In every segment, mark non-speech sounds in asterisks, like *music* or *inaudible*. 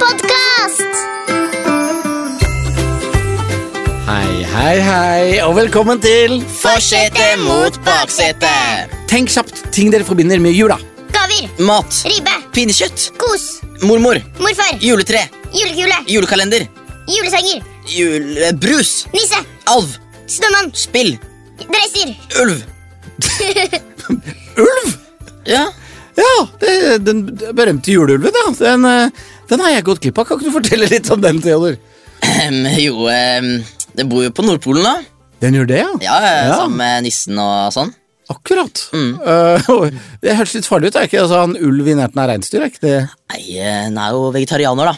podkast! Hei, hei, hei, og velkommen til Forsetet mot baksetet. Tenk kjapt ting dere forbinder med jula. Gaver, Mat. ribbe, Pinnekjøtt. kos, Mormor. morfar, Juletre. julekule, Julekalender. julesanger, Julebrus. nisse, Alv. snømann, Spill. dreiser. Ulv. Ulv! Ja. Ja, det, den berømte juleulven, ja. Den, eh, den har jeg gått glipp av. Kan ikke du fortelle litt om den, Theodor? Ehm, jo, ehm, det bor jo på Nordpolen, da. Den gjør det, ja? Ja, Mm. eh, Sammen med nissen og sånn. Akkurat. Eh, og det hørtes litt farlig ut. Er ikke altså, han ulv i nærheten av reinsdyr? Er ikke det Nei, eh, han er jo vegetarianer, da.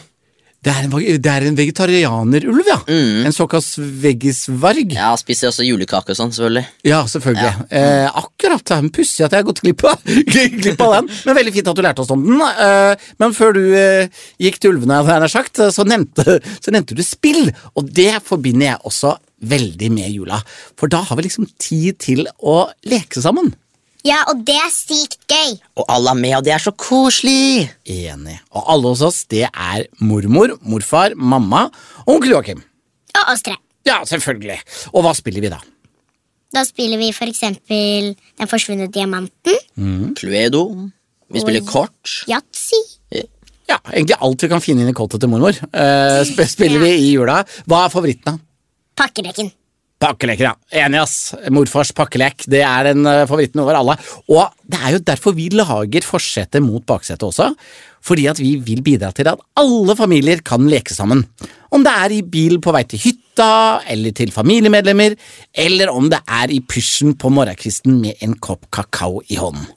det er, en, vag- det er en vegetarianerulv, ja. En såkalt veggisvarg. Ja, Mm. Ja, Spiser også julekake og sånn, selvfølgelig. selvfølgelig. Eh, akkurat. Det er en Pussig at jeg har gått glipp av, *laughs* glipp av den. Men veldig fint at du lærte oss om den. Eh, men før du eh, gikk til ulvene, hadde jeg nær sagt, så nevnte, så nevnte du spill. Og det forbinder jeg også veldig med jula. For da har vi liksom tid til å leke sammen. Ja, og det er sykt gøy. Og alle er med, og det er så koselig! Enig. Og alle hos oss, det er mormor, morfar, mamma og onkel Joakim. Og oss tre. Ja, selvfølgelig. Og hva spiller vi da? Da spiller vi for eksempel Den forsvunne diamanten, Mm. Cluedo. Vi spiller kort. yatzy. Ja, Egentlig alt vi kan finne inn i kottet til mormor. Eh, sp spiller vi i jula. Hva er favoritten, da? Pakkeleken. Pakkeleker, ja. Enig, ass. Morfars pakkelek. Det er den eh, favoritten over alle. Og det er jo derfor vi lager forsetet mot baksetet også. Fordi at vi vil bidra til at alle familier kan leke sammen. Om det er i bil på vei til hytta, eller til familiemedlemmer, eller om det er i pysjen på morgenkvisten med en kopp kakao i hånden.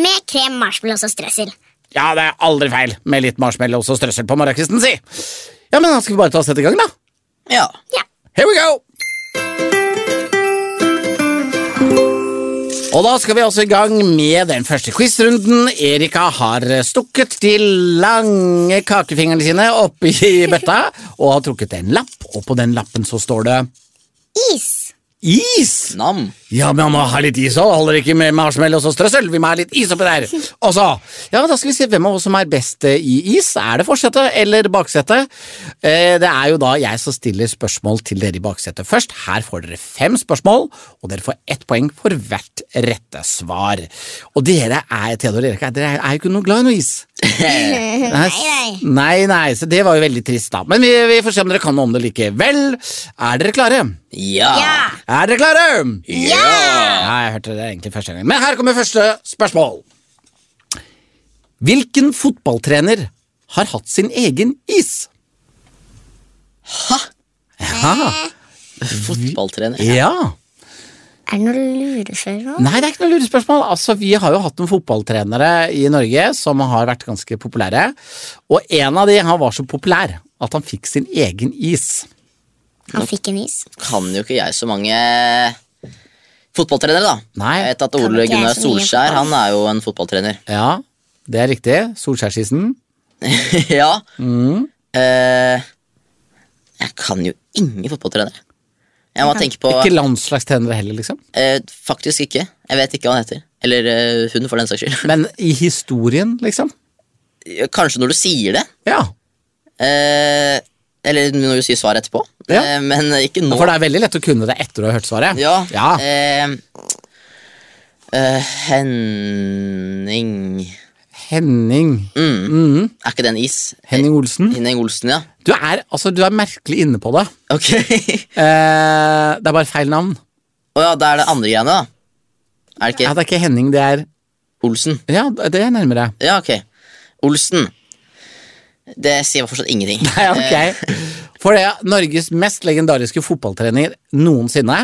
Med krem, marshmallows og strøssel. Ja, det er aldri feil med litt marshmallows og strøssel på morgenkvisten, si! Ja, men da skal vi bare ta oss sette i gang, da. Ja. Ja. Here we go! Og da skal vi også i gang med den første quizrunden. Erika har stukket de lange kakefingrene sine oppi bøtta og har trukket en lapp, og på den lappen så står det Is. is! *laughs* Nam. Ja, men man må ha litt is òg. Holder ikke med marshmallows og strøssel. Vi må ha litt is oppi der. Og så Ja, da skal vi se hvem av oss som er best eh, i is. Er det forsetet eller baksetet? Eh, det er jo da jeg som stiller spørsmål til dere i baksetet først. Her får dere fem spørsmål, og dere får ett poeng for hvert rette svar. Og dere er, Theodor og Erika, dere er jo ikke noe glad i noe is. Nei, nei. Nei, nei, så det var jo veldig trist, da. Men vi, vi får se om dere kan noe om det likevel. Er dere klare? Ja. Ja. Er dere klare? Ja! Nei, jeg hørte det egentlig første gang. Men her kommer første spørsmål. Hvilken fotballtrener har hatt sin egen is? Hæ? Fotballtrener. Ja. Er det noe lurefører nå? Nei, det er ikke noe lurespørsmål. Altså, vi har jo hatt noen fotballtrenere i Norge som har vært ganske populære. Og en av de han var så populær at han fikk sin egen is. Han fikk en is. kan jo ikke jeg så mange fotballtrenere, da. Nei. Jeg vet at Kan Ole ikke jeg Gunnar så mye Solskjær fotball. han er jo en fotballtrener. *laughs* Ja, det er riktig. Solskjærsisen. ja. Mm. Eh, jeg kan jo ingen fotballtrenere. Jeg må tenke på Ikke landslagstrenere heller, liksom. eh, Faktisk ikke. Jeg vet ikke hva han heter. Eller eh, hun, for den saks skyld. *laughs* Men i historien, liksom. Kanskje når du sier det. Ja. Eh, eller når du sier svaret etterpå. Ja. Eh, men ikke nå. For det er veldig lett å kunne det etter å ha hørt svaret. Ja. Ja. Eh, eh, Henning Henning. Er ikke det en is? Henning Olsen. Henning Olsen, ja. Du er, altså, du er merkelig inne på det. Ok. *laughs* Å Eh, det er bare feil navn. ja, da er det andre greiene, da. Er det Ja, ikke det er ikke Henning, det er Olsen? Ja, det er nærmere. *laughs* Ja, ok. Olsen. Det sier meg fortsatt ingenting. Nei, ok. For det er Norges mest legendariske fotballtrener noensinne.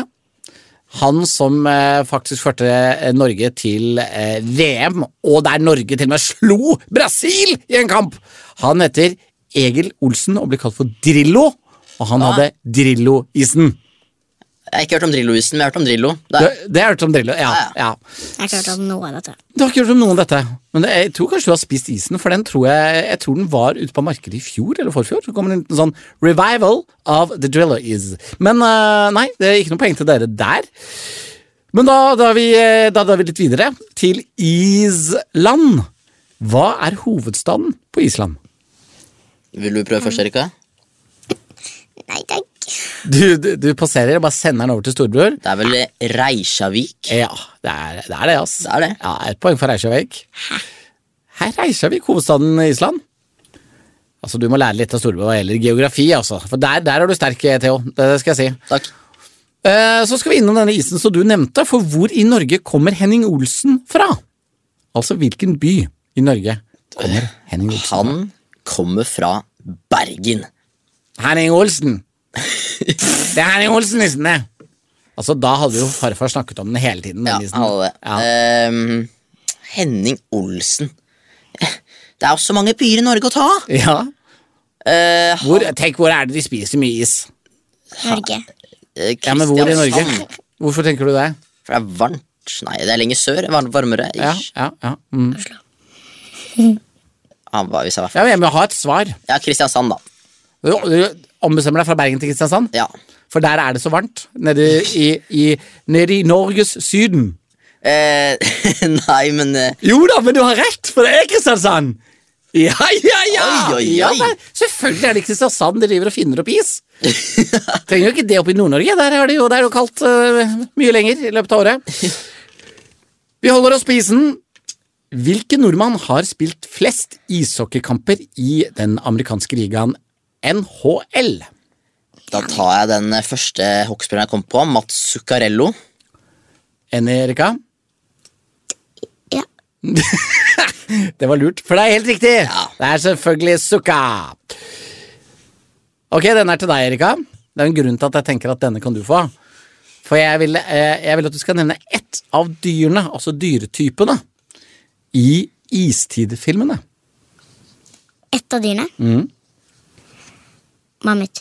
Han som eh, faktisk førte eh, Norge til eh, VM, og der Norge til og med slo Brasil i en kamp! Han heter Egil Olsen og blir kalt for Drillo, og han hadde Drillo-isen. Jeg har ikke hørt om Drillo-isen, men jeg har hørt om Drillo. Det Det, er, det har jeg hørt om Drillo, ja. ja. Jeg har ikke hørt om noe av dette. Du har ikke hørt om noen dette, men det, jeg tror kanskje du har spist isen, for den tror jeg, jeg tror den var ute på markedet i fjor eller forfjor. Så kom det en liten sånn revival av The Driller Is. Men eh, nei, det er ikke noe poeng til dere der. Men da drar vi, eh, da drar vi litt videre til Island. Hva er hovedstaden på Island? Vil du prøve først, Erika? Nei takk. Du, du, du passerer og bare sender den over til storebror. Det er vel Reisjavik. Ja, det er det, er det ass. Det er det. Ja, Et poeng for Reykjavik. Her Reykjavik, hovedstaden i Island. Altså, Du må lære litt av Storebø hva gjelder geografi, altså. For der, der er du sterk, Theo. Det skal jeg si. Takk. Eh, Så skal vi innom denne isen som du nevnte, for hvor i Norge kommer Henning Olsen fra? Altså hvilken by i Norge kommer Henning Olsen? Han kommer fra Bergen. Henning Olsen! Det er Henning Olsen-nissen, det! Altså, da hadde jo farfar snakket om den hele tiden. Den Ja, han isen. hadde det. Ja. Ehm, Henning Olsen. Eh, Det er jo så mange byer i Norge å ta av! Ja. Eh, Hvor, tenk, hvor er det de spiser mye is? Norge. eh, Ja, men hvor i Norge? Kristiansand. Hvorfor tenker du det? For det er varmt. Nei, det er lenger sør. Var varmere. Ja, Ish. ja, ja. Mm. Han var, Ah, hvis jeg var ja men jeg må ha et svar. ja, Kristiansand, da. Du du ombestemmer deg fra Bergen til Kristiansand, Ja. for der er det så varmt. Nede i, i, nede i Norges Syden. Eh, *laughs* nei, men eh, Jo da, men du har rett, for det er Kristiansand! Ja, ja, ja! Oi, oi, oi. Ja, men selvfølgelig er det Kristiansand de driver og finner opp *laughs* is. Trenger jo ikke det oppe i Nord-Norge, der er det jo, det er jo kaldt øh, mye lenger i løpet av *laughs* året. Vi holder oss på isen. Hvilken nordmann har spilt flest ishockeykamper i den amerikanske ligaen NHL? da tar jeg den eh, første hockeyspilleren jeg kom på. Mats Zuccarello. Enig, Erika? Ja. *laughs* Det var lurt, for det er helt riktig! Det er selvfølgelig Sukka. Ok, denne er til deg, Erika. Det er en grunn til at jeg tenker at denne kan du få. For jeg vil, eh, jeg vil at du skal nevne ett av dyrene, altså dyretypene, i istidfilmene. Ett av dyrene. Mammut.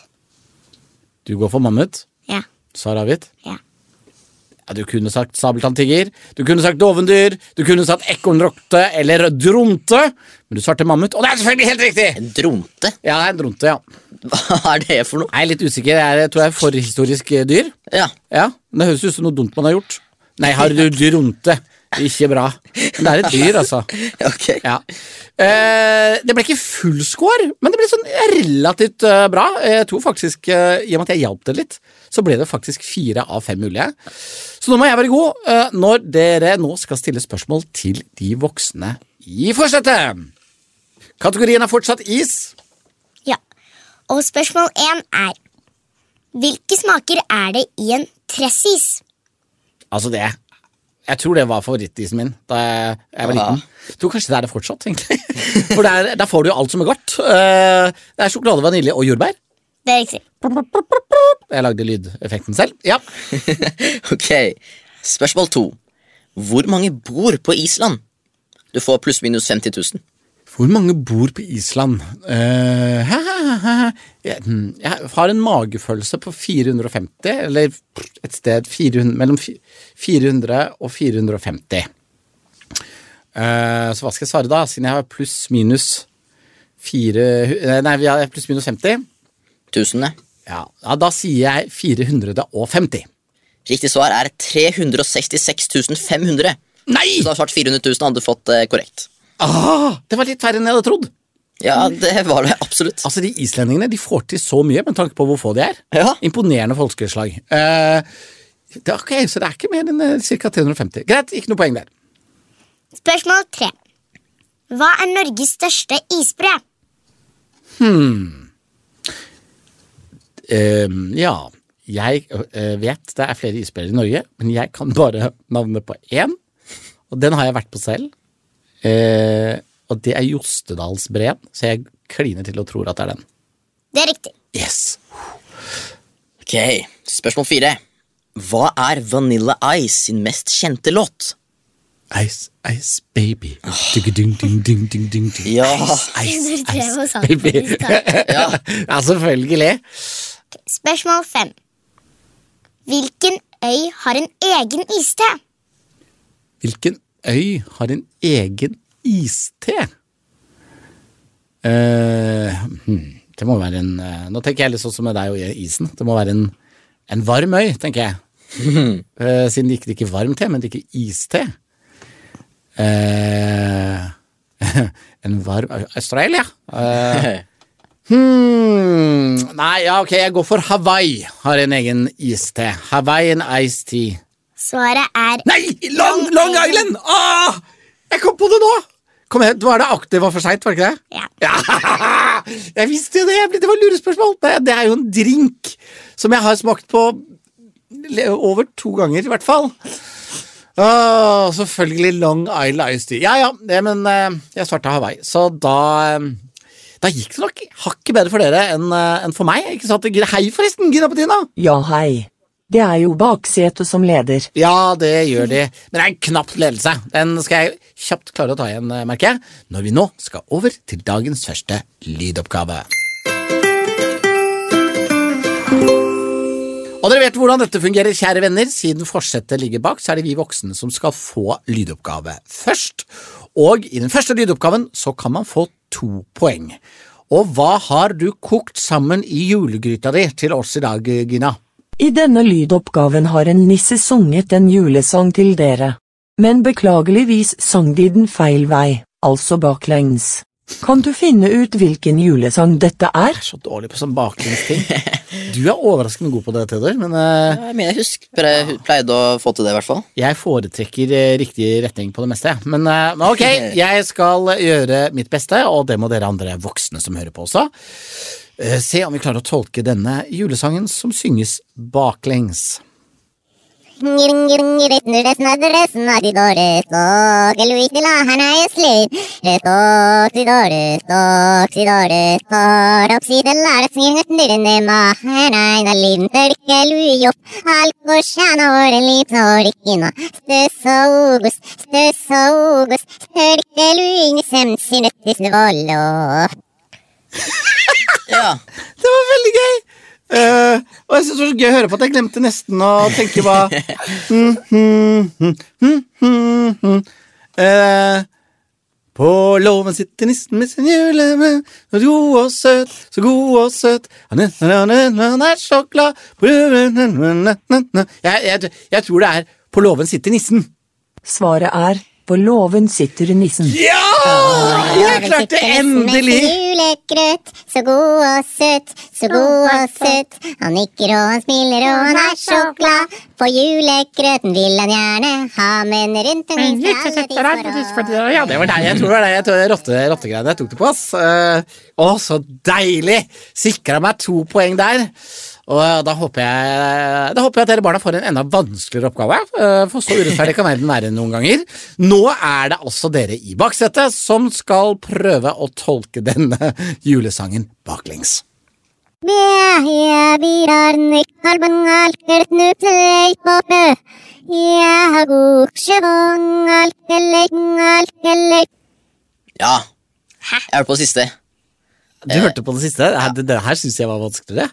Du går for mammut, Ja. svar avgitt. ja. Ja, du kunne sagt sabeltanntiger, du kunne sagt dovendyr, du kunne sagt ekornrokte eller dronte, men du svarte mammut, og det er selvfølgelig helt riktig! En dronte? *laughs* Ja, en dronte, ja. Hva er det for noe? Jeg er litt usikker, jeg er- tror jeg er forhistorisk eh, dyr. Ja. Ja, men det høres ut som noe dumt man har gjort. Nei, har du dronte? Ikke bra. Men det er et dyr, altså. Ok. Ja. Eh, det ble ikke full score, men det ble sånn relativt eh, bra. Jeg tror faktisk, eh, I og med at jeg hjalp dere litt, så ble det faktisk fire av fem mulige. Så nå må jeg være god eh, når dere nå skal stille spørsmål til de voksne i forsetet. Kategorien er fortsatt is. ja. Og spørsmål én er Hvilke smaker er det i en tressis? Altså det Jeg tror det var favorittisen min da jeg, jeg var Ja. liten. Jeg tror kanskje det er det fortsatt, egentlig. *laughs* For der, der får du jo alt som er godt. Eh, Det er sjokolade, vanilje og jordbær. Det er riktig. Jeg lagde lydeffekten selv. Ja. Ok, spørsmål to. Hvor mange bor på Island? Du får pluss minus 50 000. Hvor mange bor på Island? Eh, hæ, hæ, hæ, hæ. Jeg, hm, jeg har en magefølelse på 450, eller et sted 400, mellom fi- 400 og 450. Eh, så hva skal jeg svare da, siden jeg har pluss minus 400 Nei, vi har pluss minus 50. Tusen, ja. Ja, ja da sier jeg 450. Riktig svar er 366 500. Nei! Så du har svart 400 000, hadde du fått eh, korrekt. Ah, det var litt færre enn jeg hadde trodd. Ja, det var det absolutt. Altså, De islendingene de får til så mye med tanke på hvor få de er. Ja. Imponerende folkeslag. Eh, det, er, ok, så det er ikke mer enn eh, ca. 350. Greit, ikke noe poeng der. Spørsmål tre. Hva er Norges største isbre? Eh, ja, jeg eh, vet det er flere isbreer i Norge, men jeg kan bare navnet på én. Og den har jeg vært på selv. Eh, og det er Jostedalsbreen, så jeg kliner til og tror at det er den. Det er riktig. Yes! Ok, Spørsmål fire. Hva er Vanilla Ice sin mest kjente låt? Ice, ice, baby. Ding, ding, ding, ding, ding, ding. *laughs* Ja, Ice, Under treet og ice, sanden. baby. *laughs* ja, selvfølgelig. Spørsmål fem. Hvilken øy har en egen iste? Hvilken øy har en egen iste? Eh, hmm, det må være en eh, Nå tenker jeg litt sånn som med deg og isen. Det må være en, en varm øy, tenker jeg. Eh, siden de ikke drikker varm te, men drikker iste. *laughs* Eh, en varm øy Australia? Eh, Hmm. Nei, ja, ok, jeg går for Hawaii. Har en egen iste. Hawaiian Ice Tea. Svaret er Nei! Long, Long Island! Ah, jeg kom på det nå! Kom igjen, Nå er det aktivt var for seint, var det ikke det? Ja. Ja, jeg visste jo det! jeg ble- Det var lurespørsmål. Det, det er jo en drink som jeg har smakt på le- over to ganger, i hvert fall. Åh, selvfølgelig Long Island Ice Tea. Ja ja, det, men eh, jeg svarte Hawaii, så da eh, da gikk det nok hakket bedre for dere enn eh, enn for meg. ikke sant? Hei, forresten, Gina Petina! Ja, hei. Det er jo baksetet som leder. Ja, det gjør de. Men det er en knapp ledelse. Den skal jeg kjapt klare å ta igjen, eh, merker jeg, når vi nå skal over til dagens første lydoppgave. Og dere vet hvordan dette fungerer, kjære venner. Siden forsettet ligger bak, så er det vi voksne som skal få lydoppgave først. Og i den første lydoppgaven så kan man få to poeng. Og hva har du kokt sammen i julegryta di til oss i dag, Gina? I denne lydoppgaven har en nisse sunget en julesang til dere. Men beklageligvis sang de den feil vei, altså baklengs. Kan du finne ut hvilken julesang dette er? er så dårlig på sånn bakgrunnsting. Du er overraskende god på det, Theodor, men eh, Jeg mener, jeg husker jeg pleide å få til det, i hvert fall. jeg foretrekker eh, riktig retning på det meste. jeg. Men eh, men ok, jeg skal gjøre mitt beste, og det må dere andre voksne som hører på også. Eh, Se om vi klarer å tolke denne julesangen som synges baklengs. Ja, Det var veldig gøy! Eh, og jeg synes det var så gøy å høre på at jeg glemte nesten å tenke hva *laughs* Mm, mm, mm, mm, mm, mm. Eh, På låven sitter nissen med sin julemunn, så god og søt, så god og søt. Han er- han er- han er- han er så glad På låven- jeg, jeg, jeg tror det er På låven sitter nissen. Svaret er På låven sitter nissen. Ja! Jeg klarte det endelig! Julegrøt, så god og søt, så god og søt. Han nikker og han smiler og han er så glad. På julegrøten vil han gjerne ha, men rundt omkring skal alle de få råd. Ja, det var deg. Jeg tror det var deg. Jeg tror det er rotte, rottegreiene jeg tok det på, ass. Eh, Å, så deilig! Sikra meg to poeng der. Og eh, da håper jeg Da håper jeg at dere barna får en enda vanskeligere oppgave. eh, For så urettferdig kan verden være noen ganger. Nå er det altså dere i baksetet som skal prøve å tolke denne julesangen baklengs. Jeg bidrar nikk halben alkert nupsleik poppe. Jeg har god sjevong alkelek alkelek. ja. Jeg er på siste. Du hørte på det siste? Det her, det her syns jeg var vanskeligere.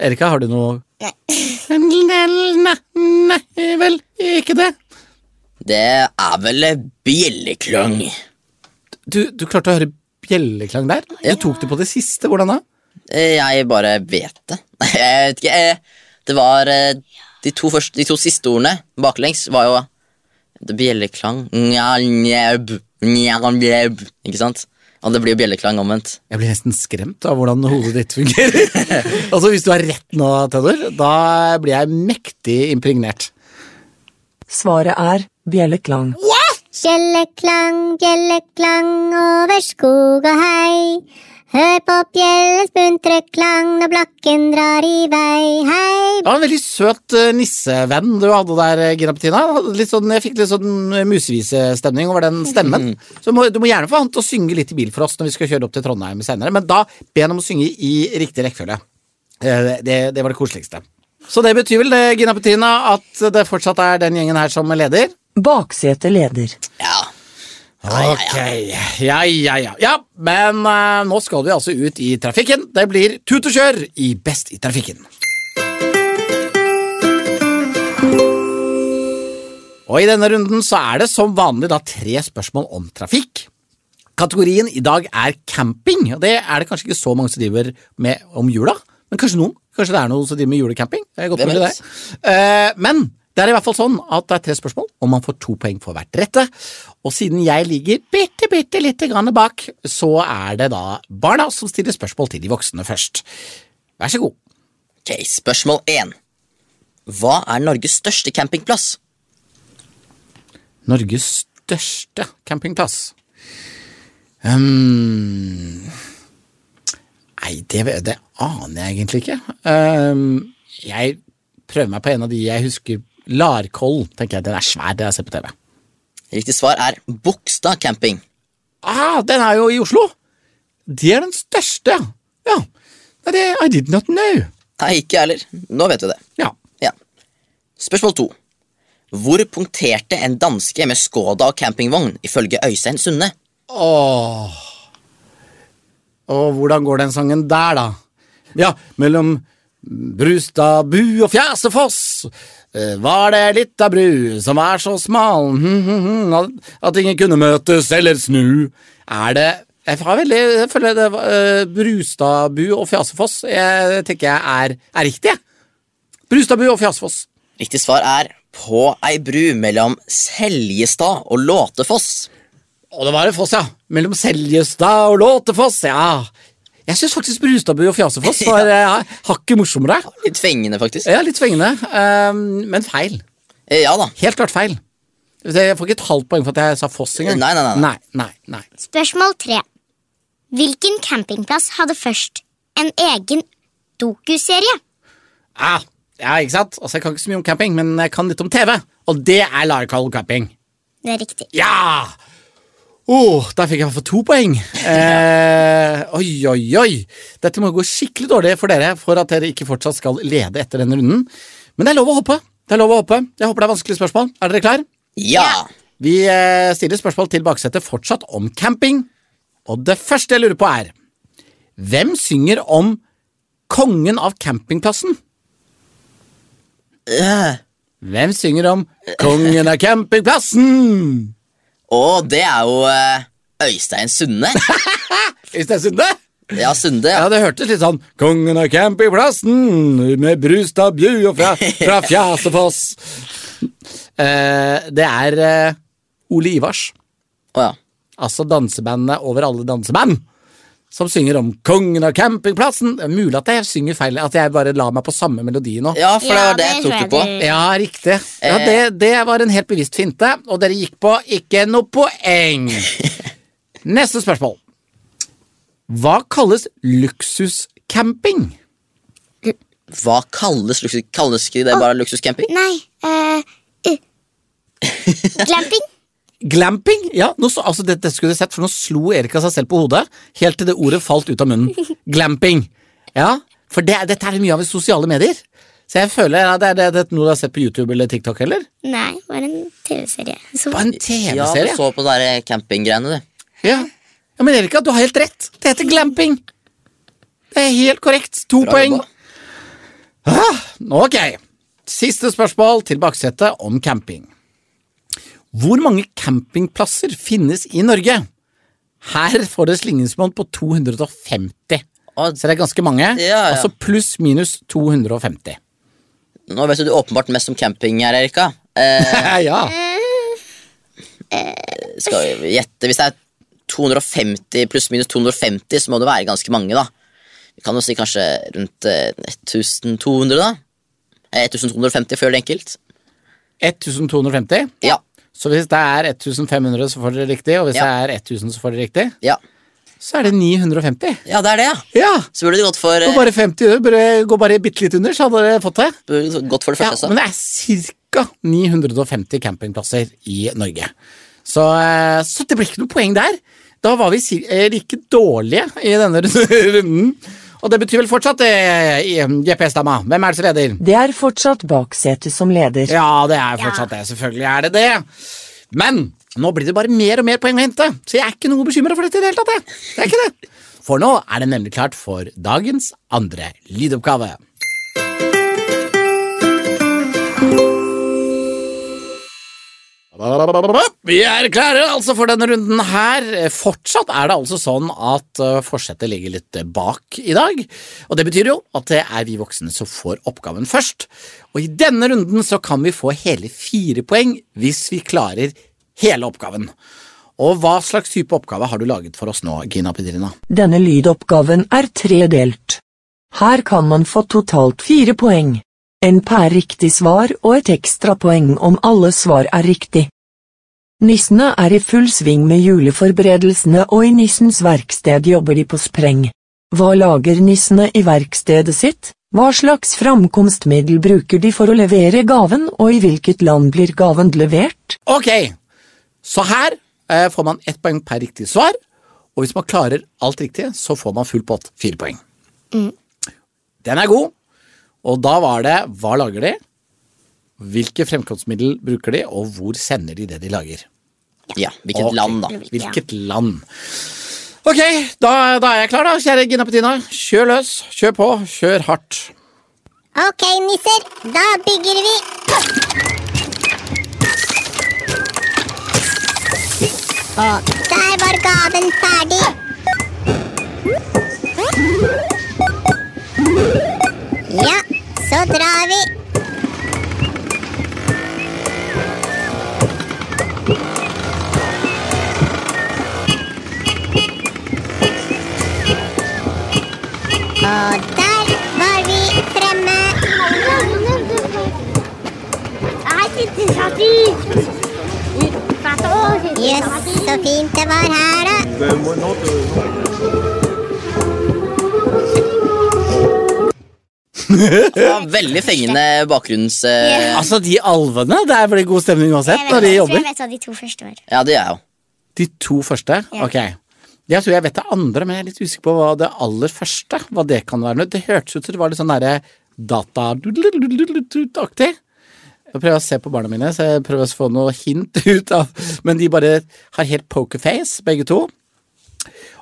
Erika, har du noe *laughs* Nei. Nei vel, ikke det. Det er vel bjelleklang. Du, du klarte å høre bjelleklang der? Ja. Du tok det på det siste, hvordan da? Eh, Jeg bare vet det. *laughs* Jeg vet ikke. eh, Det var eh, De to, første, de to siste ordene baklengs var jo det bjelleklang Nja, njeb, nja, njeb. Ikke sant? Og det blir jo bjelleklang omvendt. Jeg blir nesten skremt av hvordan hodet ditt fungerer. altså, Hvis du har rett nå, Theodor, da blir jeg mektig impregnert. Svaret er bjelleklang. Bjelleklang, bjelleklang over skog og hei. Hør på bjellens buntre klang når blakken drar i vei. Hei, Det var en veldig søt eh, nissevenn du hadde der, eh, Gina Petina. Hadde Litt sånn, jeg fikk litt sånn eh, musevisestemning over den Mhm. stemmen. Så må, du må gjerne få han til å synge litt i bil for oss når vi skal kjøre opp til Trondheim senere, men da be han om å synge i riktig rekkefølge. Eh, Det, det var det koseligste. Så det betyr vel det, Gina Petina, at det fortsatt er den gjengen her som leder? Baksetet leder. Ja. Ok, ja, ja, ja. ja men eh, nå skal vi altså ut i trafikken. Det blir tut og kjør i Best i trafikken. Og i denne runden så er det som vanlig da tre spørsmål om trafikk. Kategorien i dag er camping, og det er det kanskje ikke så mange som driver med om jula, men kanskje noen. Kanskje det er noen som driver med julecamping? Det er godt Hvem mulig, vet? det. Eh, Men Det er i hvert fall sånn at det er tre spørsmål, og man får to poeng for hvert rette. Og siden jeg ligger bitte, bitte lite grann bak, så er det da barna som stiller spørsmål til de voksne først. Vær så god. Ok, Spørsmål én. Hva er Norges største campingplass? Norges største campingplass? Ehm, nei, det, ve- det aner jeg egentlig ikke. Ehm, jeg prøver meg på en av de jeg husker. Larkoll. tenker jeg, Den er svær, det har jeg sett på TV. Riktig svar er Bogstad camping. Ah, den er jo i Oslo! Det er den største, ja. ja. Nei, det, I did not know. Nei, ikke jeg heller. Nå vet du det. Ja. Ja. Spørsmål to. Hvor punkterte en danske med Skoda og campingvogn ifølge Øystein Sunde? Åh. Og hvordan går den sangen der, da? Ja, mellom Brustad bu og Fjasefoss eh, var det litt av bru som er så smal hm, hm, hm, at- at ingen kunne møtes eller snu. Er det Jeg har veldig, jeg føler det var, eh, Brustadbu og Fjasefoss jeg tenker jeg er, er riktig. jeg. Brustadbu og Fjasefoss. Riktig svar er på ei bru mellom Seljestad og Låtefoss. Og det var en foss, ja. Mellom Seljestad og Låtefoss, ja. Jeg syns faktisk Brustadbu og *laughs* Fjasefoss var ja. hakket morsommere. Litt fengende, faktisk. Ja, litt svingende, ehm, men feil. Eh, Ja da. Helt klart feil. Jeg får ikke et halvt poeng for at jeg sa Foss engang. Nei, nei, nei, nei. nei, nei. Spørsmål tre. Hvilken campingplass hadde først en egen dokuserie? Ah, ja, ikke sant? Altså, Jeg kan ikke så mye om camping, men jeg kan litt om TV. Og det er Larcoll camping. Det er riktig. Ja! Oh, der fikk jeg i hvert fall to poeng. Eh, oi, oi, oi. Dette må gå skikkelig dårlig for dere for at dere ikke fortsatt skal lede etter denne runden. Men det er lov å håpe. Det er lov å håpe. Jeg håper det er vanskelige spørsmål. Er dere klar? Ja. Vi eh, stiller spørsmål til baksetet fortsatt om camping. Og det første jeg lurer på, er Hvem synger om kongen av campingplassen? Eh, Hvem synger om kongen av campingplassen? Og det er jo eh, Øystein Sunde. Øystein Sunde? Ja, Sunde. Ja, ja. det hørtes litt sånn Kongen av campingplassen med Brustad Bju og fra, fra Fjasefoss. Eh, det er eh, Ole Ivars. Å ja. altså dansebandet over alle danseband, som synger om kongen av campingplassen. Det er mulig at jeg synger feil, at jeg bare la meg på samme melodi nå. Ja, for det Ja, var det jeg det tror tok jeg det på. du- Ja, riktig. Ja, det, det var en helt bevisst finte, og dere gikk på ikke noe poeng. Neste spørsmål. Hva kalles luksuscamping? Hva kalles luksus... Kalles ikke det bare luksuscamping? Nei eh, eh, *laughs* Glamping? Glamping? Ja, nå så, altså det, det skulle du sett, for nå slo Erika seg selv på hodet helt til det ordet falt ut av munnen. *laughs* Glamping. Ja, for det, dette er det mye av i sosiale medier. Så jeg føler ja, det er det, det er noe du har sett på YouTube eller TikTok, eller? Nei, det var en TV-serie. Så- På en Ja, du TV-serie. Ja, så på de der campinggreiene, du. ja. men Erika, du har helt rett. Det heter glamping. Det er helt korrekt. To Bra poeng. Ah, jobba. Ok. Siste spørsmål til baksetet om camping. Hvor mange campingplasser finnes i Norge? Her får det slingringsmonn på 250. Å, Så det er ganske mange. ja. Altså pluss minus 250. Nå vet du åpenbart mest om camping her, Erika. Eh, *laughs* ja. skal vi gjette Hvis det er 250 pluss minus 250, så må det være ganske mange, da. Vi kan jo si kanskje rundt eh, 1200, da. Eh, 1250 for å gjøre det enkelt. 1250. Ja. Så hvis det er 1500, så får dere riktig. Og hvis Ja. det er 1000, så får dere riktig. Ja, Så er det 950. ja det er det, ja. Ja! Så burde det gått for, Gå eh, bare 50, det burde gå bare bitte litt under, så hadde dere fått det. burde det gått for det Ja, første. men det er ca. 950 campingplasser i Norge. Så, eh, så det ble ikke noe poeng der. Da var vi si- eh, like dårlige i denne *laughs* runden. Og det betyr vel fortsatt eh, i- GPS-dama. Hvem er det som leder? Det er fortsatt baksetet som leder. Ja, det er fortsatt det. Selvfølgelig er det det. Men nå blir det bare mer og mer poeng å hente, så jeg er ikke noe bekymra for dette i det hele tatt. jeg. Det er ikke det. For nå er det nemlig klart for dagens andre lydoppgave. Vi er klare altså for denne runden her. Fortsatt er det altså sånn at eh, forsetet ligger litt eh, bak i dag. Og det betyr jo at det er vi voksne som får oppgaven først. Og i denne runden så kan vi få hele fire poeng hvis vi klarer hele oppgaven. Og hva slags type oppgave har du laget for oss nå, Gina Pedrina? Denne lydoppgaven er tredelt. Her kan man få totalt fire poeng. En per riktig svar og et ekstra poeng om alle svar er riktig. Nissene er i full sving med juleforberedelsene og i nissens verksted jobber de på spreng. Hva lager nissene i verkstedet sitt? Hva slags framkomstmiddel bruker de for å levere gaven, og i hvilket land blir gaven levert? Ok, så her eh, får man ett poeng per riktig svar, og hvis man klarer alt riktig, så får man full pott, fire poeng. Mm. Den er god, og da var det hva lager de, hvilke fremkomstmiddel bruker de, og hvor sender de det de lager. Ja, Hvilket Ok, land, da? Hvilket land. Ok, da, da er jeg klar, da, kjære Gina Petina. Kjør løs, kjør på, kjør hardt. Ok, nisser, da bygger vi. Og der var gaven ferdig. Ja, så drar vi. Og der var vi fremme. Jøss, så fint det var her, da. Det var veldig fengende bakgrunns... eh, Altså, de alvene, der blir god stemning uansett når de jobber. vet hva de to første var. Ja, det gjør jeg jo. De to første? Ok. Jeg tror jeg vet det andre, men jeg er litt usikker på hva det aller første hva det kan være. Det hørtes ut som det var litt sånn derre data-aktig. Nå prøver jeg å se på barna mine, så jeg prøver å få noe hint *laughs* ut av Men de bare har helt pokerface, begge to.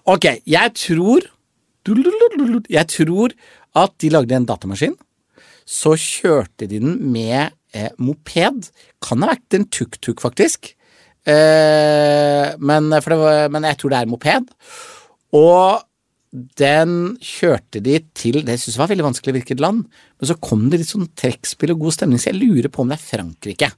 Ok, jeg tror Jeg tror at de lagde en datamaskin. Så kjørte de den med eh, moped. Kan ha vært en tuk-tuk, faktisk. Eh, men, for det var, men jeg tror det er moped. Og den kjørte de til Det synes jeg var veldig vanskelig hvilket land, men så kom det litt sånn trekkspill og god stemning, så jeg lurer på om det er Frankrike.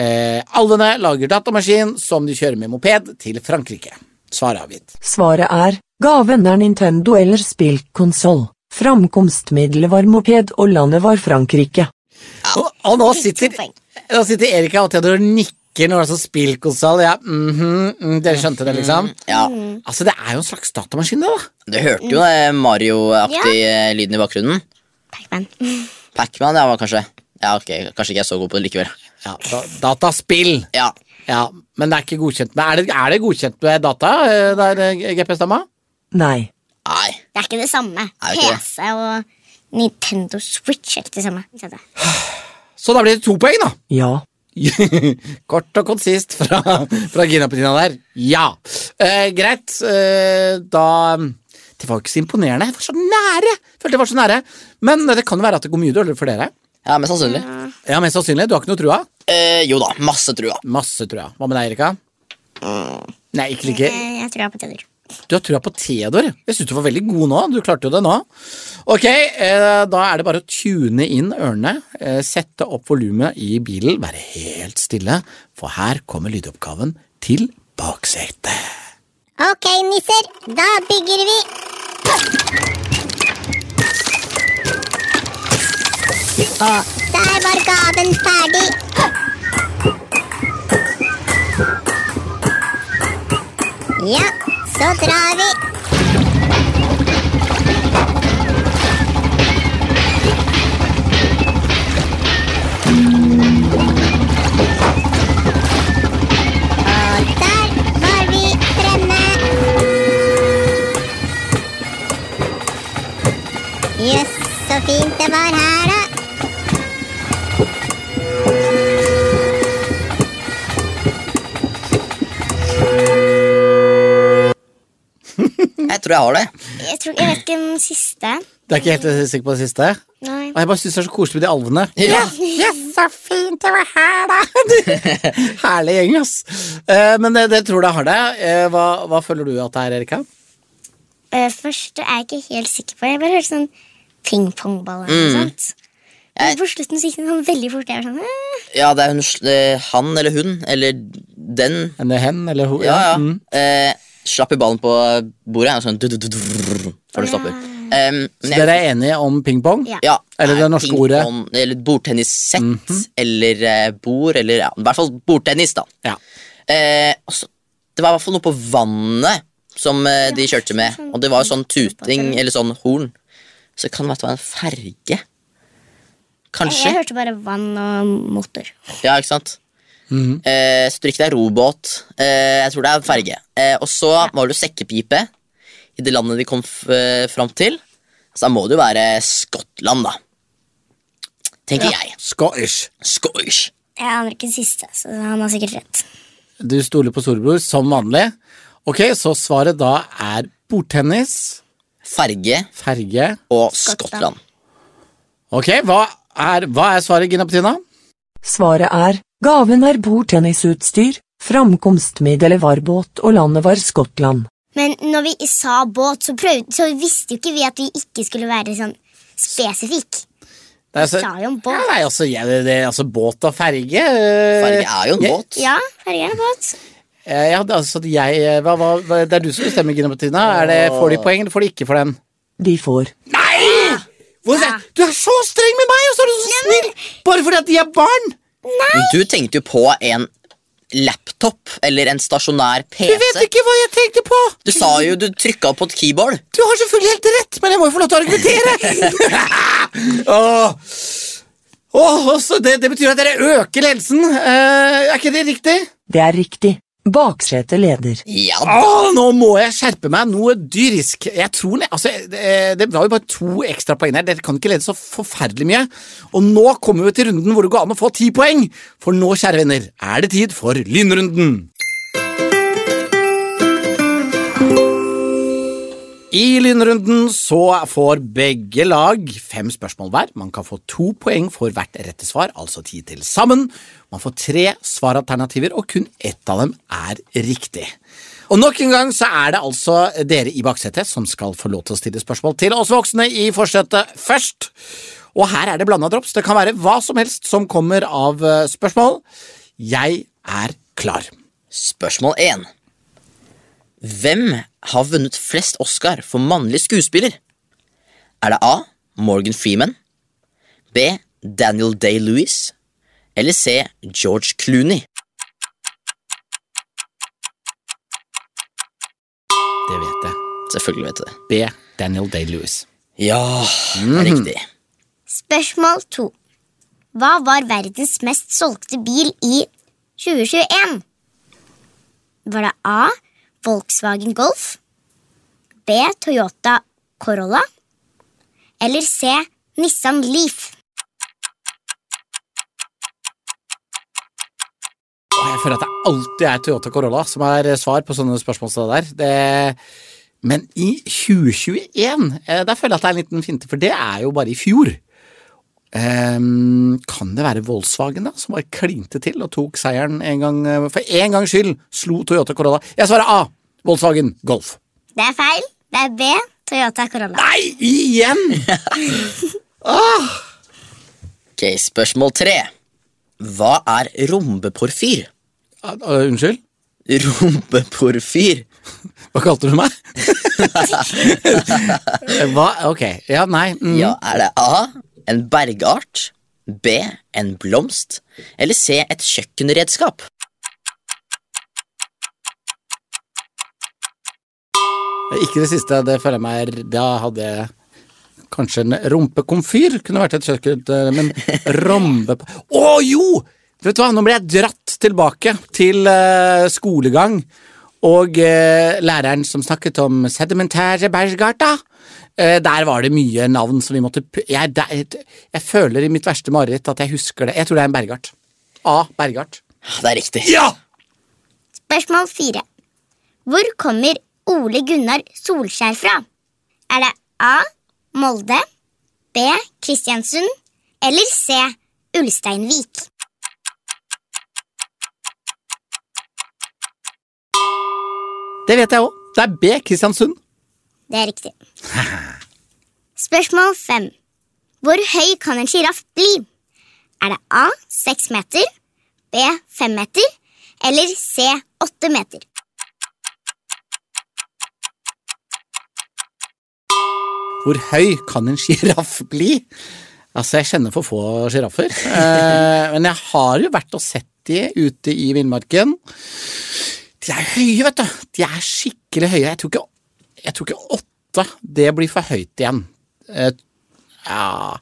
Eh, Alvene lager datamaskin som de kjører med moped til Frankrike. Svar avgitt. Svaret er gaven er Nintendo eller spillkonsoll. Framkomstmiddelet var moped, og landet var Frankrike. Og, og nå sitter, To poeng. nå sitter Erika og Theodor og nikker når det er sånn spillkonsoll. Ja, mhm, mm, dere skjønte det, liksom? Ja, Altså, det er jo en slags datamaskin, det, da. Du hørte jo eh, Mario-aktig eh, lyden i bakgrunnen. Pac-Man. Pac-Man, ja, var kanskje Ja, ok, Kanskje ikke jeg er så god på det likevel. Ja, da dataspill. Ja, Ja, men det er ikke godkjent med Er det, er det godkjent med data eh, der, eh, GPS-dama? Nei. Nei. Det er ikke det samme. Er det ikke det? PC og Nintendo Switch er ikke det samme. Ikke sant? Så da blir det to poeng, da. *laughs* Ja. Kort og konsist fra, fra Gina Petina der. Ja. Eh, greit. Eh, da Det var jo ikke så imponerende. Jeg var så nære! Følte jeg var så nære. Men det kan jo være at det går mye dårligere for dere. Ja, Mest sannsynlig. Ja, Mest sannsynlig. Du har ikke noe trua? Eh, jo da, masse trua. Masse trua. Hva med deg, Erika? Nei, ikke like Eh, Jeg tror jeg har poteter. Du har trua på Theodor. Jeg syns du var veldig god nå. Du klarte jo det nå. Ok, eh, da er det bare å tune inn ørene, eh, sette opp volumet i bilen, være helt stille, for her kommer lydoppgaven til baksetet. Ok, nisser, da bygger vi. Og der var gaven ferdig. Ja, så drar vi. Og der var vi fremme. Jøss, så fint det var her, da. Jeg tror jeg har det. Jeg, tror, jeg vet ikke den siste. Du er ikke helt sikker på det siste? Nei. Og jeg bare syns det er så koselig med de alvene. Ja. Yes. så fint det var her, da! *laughs* Herlig gjeng, ass. Eh, men eh, dere tror det har det. Eh, hva, hva føler du at det er, Erika? Eh, Først er jeg ikke helt sikker på Jeg bare hørte sånn pingpongball eller noe sånt. Men på slutten så gikk den sånn veldig fort. Jeg var sånn, eh. Ja, det er hun, sl- eh, han eller hun, eller den. En hen eller ho? Ja, ja. Mm. Eh, slapp i ballen på bordet, og sånn du, du, du, du, før du stopper. Em, Så men jeg- dere er enige om pingpong? Ja. ja, Eller det er norske pingpong, ordet. Eller bordtennissett, eller eh, bord, eller ja, i hvert fall bordtennis, da. Ja. Eh, og så- det var i hvert fall noe på vannet som eh, de kjørte med. sånn- Og det var jo sånn tuting, fotballterm. eller sånn horn. Så kan det være at det var en ferge. Kanskje. Jeg hørte bare vann og motor. Ja, ikke sant? Mhm. Eh, så tror jeg ikke det er robåt. Eh, jeg tror det er ferge. Eh, og så var det jo sekkepipe i det landet de kom f eh, fram til. Så da må det jo være Skottland, da. Tenker jeg. Scottish. Scottish. Jeg aner ikke det siste, så han har sikkert rett. Du stoler på storebror som vanlig. Ok, så svaret da er bordtennis, Ferge ferge og Skottland. Skottland. Ok, hva er, hva er svaret, Gina Petina? Svaret er gaven er bordtennisutstyr, framkomstmiddelet var båt og landet var Skottland. Men når vi sa båt, så, prøvde, så visste jo ikke vi at vi ikke skulle være sånn spesifikk. Det er så- Sa jo en båt. Ja, nei, altså, jeg, det, det, altså båt og ferge eh, Ferge er jo en jeg- båt. Ja, ferge er båt. eh, ja, det, er altså, at jeg, eh, hva, hva, hva, det er du som bestemmer, Gina Petina. Er det, får de poeng, eller får de ikke for den? De får. Nei! Hvor, Du er så streng med meg, og så er du så snill! Bare fordi at de er barn! Du tenkte jo på en laptop eller en stasjonær Du vet PC. ikke hva jeg tenkte på! Du sa jo du trykka på et keyboard. Du har selvfølgelig helt rett, men jeg må jo få lov til å argumentere! *laughs* Åh, Åh, og så det, det betyr at dere øker ledelsen. Eh, er ikke det riktig? Det er riktig. Baksete leder. Ja, Åh, nå må jeg skjerpe meg noe dyrisk. Jeg tror, ne- altså, eh, Det var jo bare to ekstra poeng her. Dere kan ikke lede så forferdelig mye. Og nå kommer vi til runden hvor det går an å få ti poeng. For nå, kjære venner, er det tid for lynrunden. I lynrunden så får begge lag fem spørsmål hver. Man kan få to poeng for hvert rette svar, altså ti til sammen. Man får tre svaralternativer, og kun ett av dem er riktig. Og Nok en gang så er det altså dere i baksetet som skal få lov til å stille spørsmål til oss voksne i forsetet først. Og her er det blanda drops. Det kan være hva som helst som kommer av eh, spørsmål. Jeg er klar. Spørsmål 1. Hvem har vunnet flest Oscar for mannlig skuespiller? Er det A. Morgan Freeman B. Daniel Day-Lewis Eller C. George Clooney Det vet jeg. Selvfølgelig vet du det. B. Daniel Day-Lewis. Ja, det er riktig. Spørsmål to. Hva var verdens mest solgte bil i 2021? Var det A. Volkswagen Golf? B. Toyota Corolla? Eller C. Nissan Leaf? Og jeg føler at det alltid er Toyota Corolla som er svar på sånne spørsmål som det der. Det... Men i 2021, eh, der føler jeg at det er en liten finte, for det er jo bare i fjor. Ehm, kan det være Volkswagen da, som bare klinte til og tok seieren en gang, eh, for en gangs skyld slo Toyota Corolla? Jeg svarer A! Volkswagen Golf. Det er feil. Det er B. Toyota Corolla. Nei, igjen! Ok, Spørsmål 3. Hva er rombeporfyr? Ah, ah, unnskyld? Rombeporfyr? Hva kalte du meg? *laughs* Hva? Ok. Ja, nei. Mm. Ja, er det A. En bergart B. En blomst Eller C. Et kjøkkenredskap Ikke det siste. Det føler jeg meg Da hadde jeg kanskje en rumpekomfyr. Kunne vært et kjøkken, eh, men rombe... Å jo! Vet du hva, nå ble jeg dratt tilbake til eh, skolegang. Og eh, læreren som snakket om sedimentære bergarta. Eh, der var det mye navn som vi måtte p jeg, det- jeg, jeg føler i mitt verste mareritt at jeg husker det. Jeg tror det er en bergart. A. Bergart. Ah, Det er riktig. Ja! Spørsmål fire. Hvor kommer Ole Gunnar Solskjær fra? Er det A. Molde, B. Kristiansund eller C. Ulsteinvik. Det vet jeg òg. Det er B. Kristiansund. Det er riktig. Spørsmål fem. Hvor høy kan en sjiraff bli? Er det A seks meter, B fem meter eller C åtte meter? Hvor høy kan en sjiraff bli? Altså, jeg kjenner for få sjiraffer. Eh, men jeg har jo vært og sett de ute i villmarken. De er høye, vet du. De er skikkelig høye. Jeg tror ikke, jeg tror ikke åtte. Det blir for høyt igjen. Eh, ja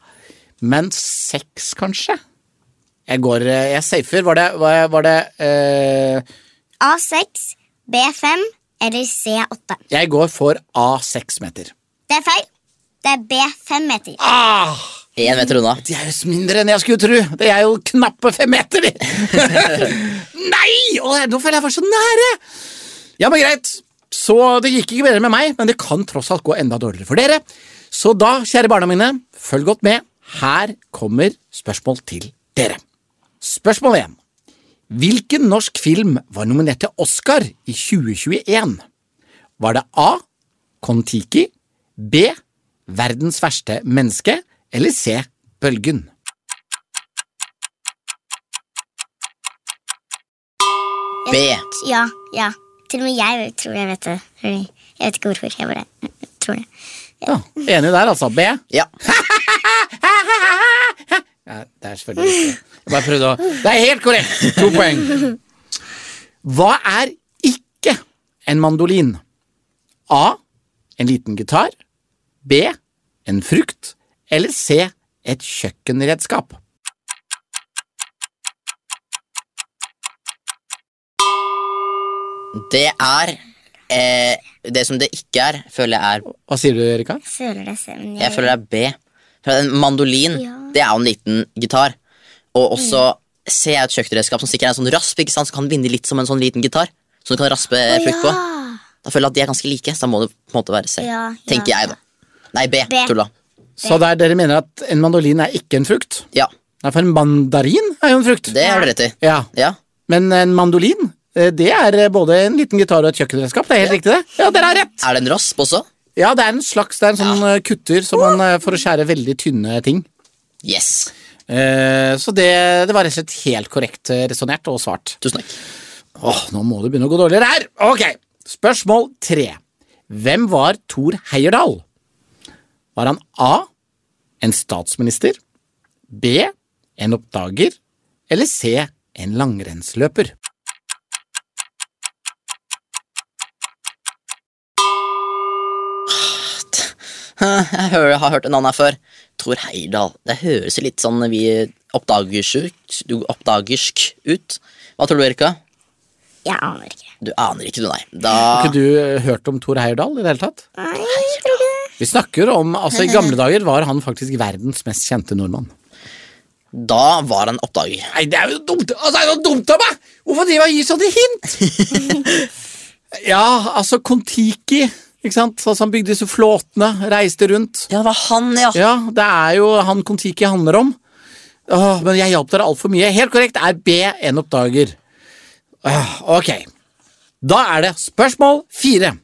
Men seks, kanskje? Jeg går eh, Jeg safer. Var det, var, var det eh, A seks, B fem eller C åtte? Jeg går for A seks meter. Det er feil. Det er B fem meter. Ah! Én meter unna. De er jo mindre enn jeg skulle tro. Det er jo knappe fem meter, de. Nei! Å, nå føler jeg var så nære. Ja, men greit. Så det gikk ikke bedre med meg, men det kan tross alt gå enda dårligere for dere. Så da, kjære barna mine, følg godt med. Her kommer spørsmål til dere. Spørsmål 1. Hvilken norsk film var nominert til Oscar i 2021? Var det A. Kon-Tiki? B. Verdens verste menneske? Eller C. Bølgen? B. Ja, ja. Til og med jeg tror jeg vet det. Jeg vet ikke hvorfor. Jeg bare tror det. Ja, enig der, altså. B. Ja. Ja, det er selvfølgelig riktig. Jeg bare prøvde å Det er helt korrekt! To poeng. Hva er ikke en mandolin? A. En liten gitar. B. En frukt. Eller C. Et kjøkkenredskap. Det er eh, Det som det ikke er, føler jeg er Hva sier du, Erika? Jeg føler det selv. men Jeg føler det er B. For en mandolin Ja. Mm. det er jo en liten gitar. Og også C er et kjøkkenredskap som sikkert er en sånn rasp, ikke sant? som kan binde litt som en sånn liten gitar. Som du kan raspe Å, frukt på. ja. Da føler jeg at de er ganske like, så da må det på en måte være C. Ja, ja, Tenker jeg, da. Nei, B. B. Tulla. Så der dere mener at en mandolin er ikke en frukt? Ja, Nei, for en mandarin er jo en frukt. det har du rett i. Ja, Ja. Men en mandolin, eh, det er eh, både en liten gitar og et kjøkkenredskap. Det er helt riktig, det. Ja, dere har rett! Er det en rasp også? Ja, det er en slags det er en sånn eh, kutter som man, eh, for å skjære veldig tynne ting. Yes. Eh, så det, det var rett og slett helt korrekt eh, resonnert og svart. Tusen takk. Åh, nå må det begynne å gå dårligere her! Ok, Spørsmål tre. Hvem var Thor Heyerdahl? Var han A. En statsminister? B. En oppdager? Eller C. En langrennsløper? Jeg hører, har hørt en annen her før. Thor Heyerdahl. Det høres jo litt sånn vi oppdagersk, du, oppdagersk ut. Hva tror du, Erika? Jeg aner ikke. Du aner ikke, du, nei. Da Har ikke du eh, hørt om Thor Heyerdahl i det hele tatt? Nei, jeg tror ikke det. Vi snakker om, altså I gamle dager var han faktisk verdens mest kjente nordmann. Da var han oppdager. Nei, det er jo dumt altså, det er jo dumt av meg! Hvorfor driver jeg og gir sånne hint? ja, altså Kon-Tiki, ikke sant? Altså, han bygde disse flåtene, reiste rundt. Ja, det var han, ja. Ja, det er jo han Kon-Tiki handler om. Åh, men jeg hjalp dere altfor mye. Helt korrekt er B en oppdager. Åh, ok. Da er det spørsmål fire.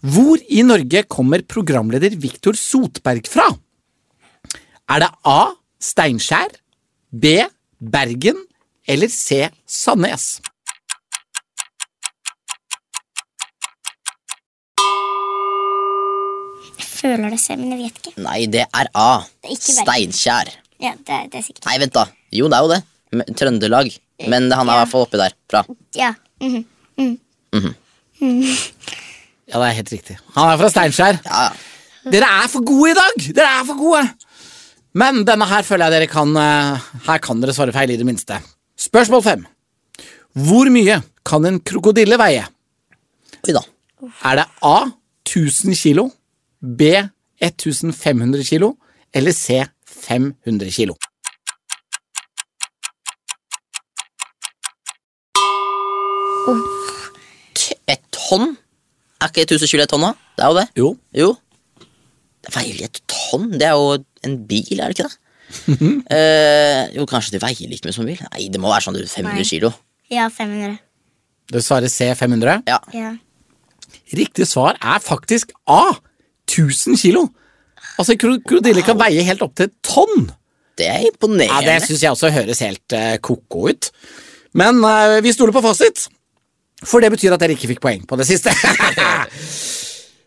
Hvor i Norge kommer programleder Viktor Sotberg fra? Er det A. Steinkjer, B. Bergen eller C. Sandnes? Jeg føler det selv, men jeg vet ikke. Nei, det er A. Det er ikke Bergen. Steinkjer. Ja, det, er- det er sikkert. Nei, vent, da. Jo, det er jo det. Men- Trøndelag. Men han er i hvert fall oppi der. Fra. Ja. mhm. Ja, det er helt riktig. Han er fra Steinkjer. Ja, ja. Dere er for gode i dag! Dere er for gode! Men denne her føler jeg dere kan eh, Her kan dere svare feil, i det minste. Spørsmål fem. Hvor mye kan en krokodille veie? Oi da. Er det A 1000 kilo, B 1500 kilo eller C 500 kilo? T- Et tonn? Er ikke 1000 kilo et tonn, da? Det er jo det. Jo, Jo. Det veier et tonn? Det er jo en bil, er det ikke det? Eh, jo, kanskje det veier like mye som en bil? Nei, det må være sånn 500 Nei. kilo. Ja, 500. Du svarer C500. Ja. Ja. Riktig svar er faktisk A. 1000 kilo. Altså, kro- krokodiller kan veie helt opp til et tonn. Det er imponerende. Ja, Det syns jeg også høres helt eh, ko-ko ut. Men eh, vi stoler på fasit, for det betyr at dere ikke fikk poeng på det siste. *laughs*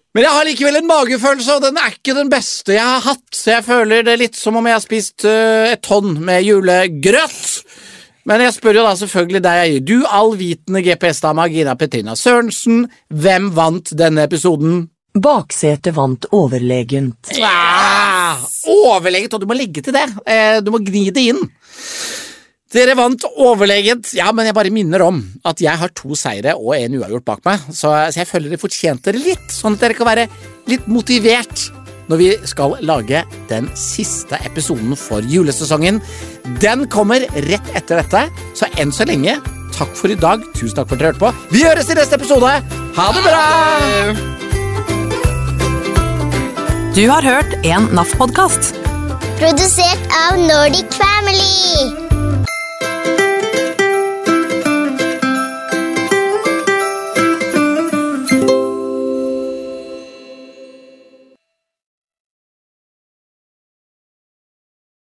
Men jeg har likevel en magefølelse, og den er ikke den beste jeg har hatt. Så jeg føler det litt som om jeg har spist eh, et tonn med julegrøt. Men jeg spør jo da selvfølgelig deg, du allvitende GPS-dama Gina Petrina Sørensen. Hvem vant denne episoden? Baksetet vant overlegent. Ah, overlegent, og du må legge til det. Eh, Du må gni det inn. Dere vant overlegent. Ja, men jeg bare minner om at jeg har to seire og en uavgjort bak meg, så så jeg føler dere fortjente det litt, sånn at dere kan være litt motivert når vi skal lage den siste episoden for julesesongen. Den kommer rett etter dette, så enn så lenge, takk for i dag. Tusen takk for at dere hørte på. Vi høres i neste episode. Ha det bra! Du har hørt en NAF-podkast. Produsert av Nordic Family.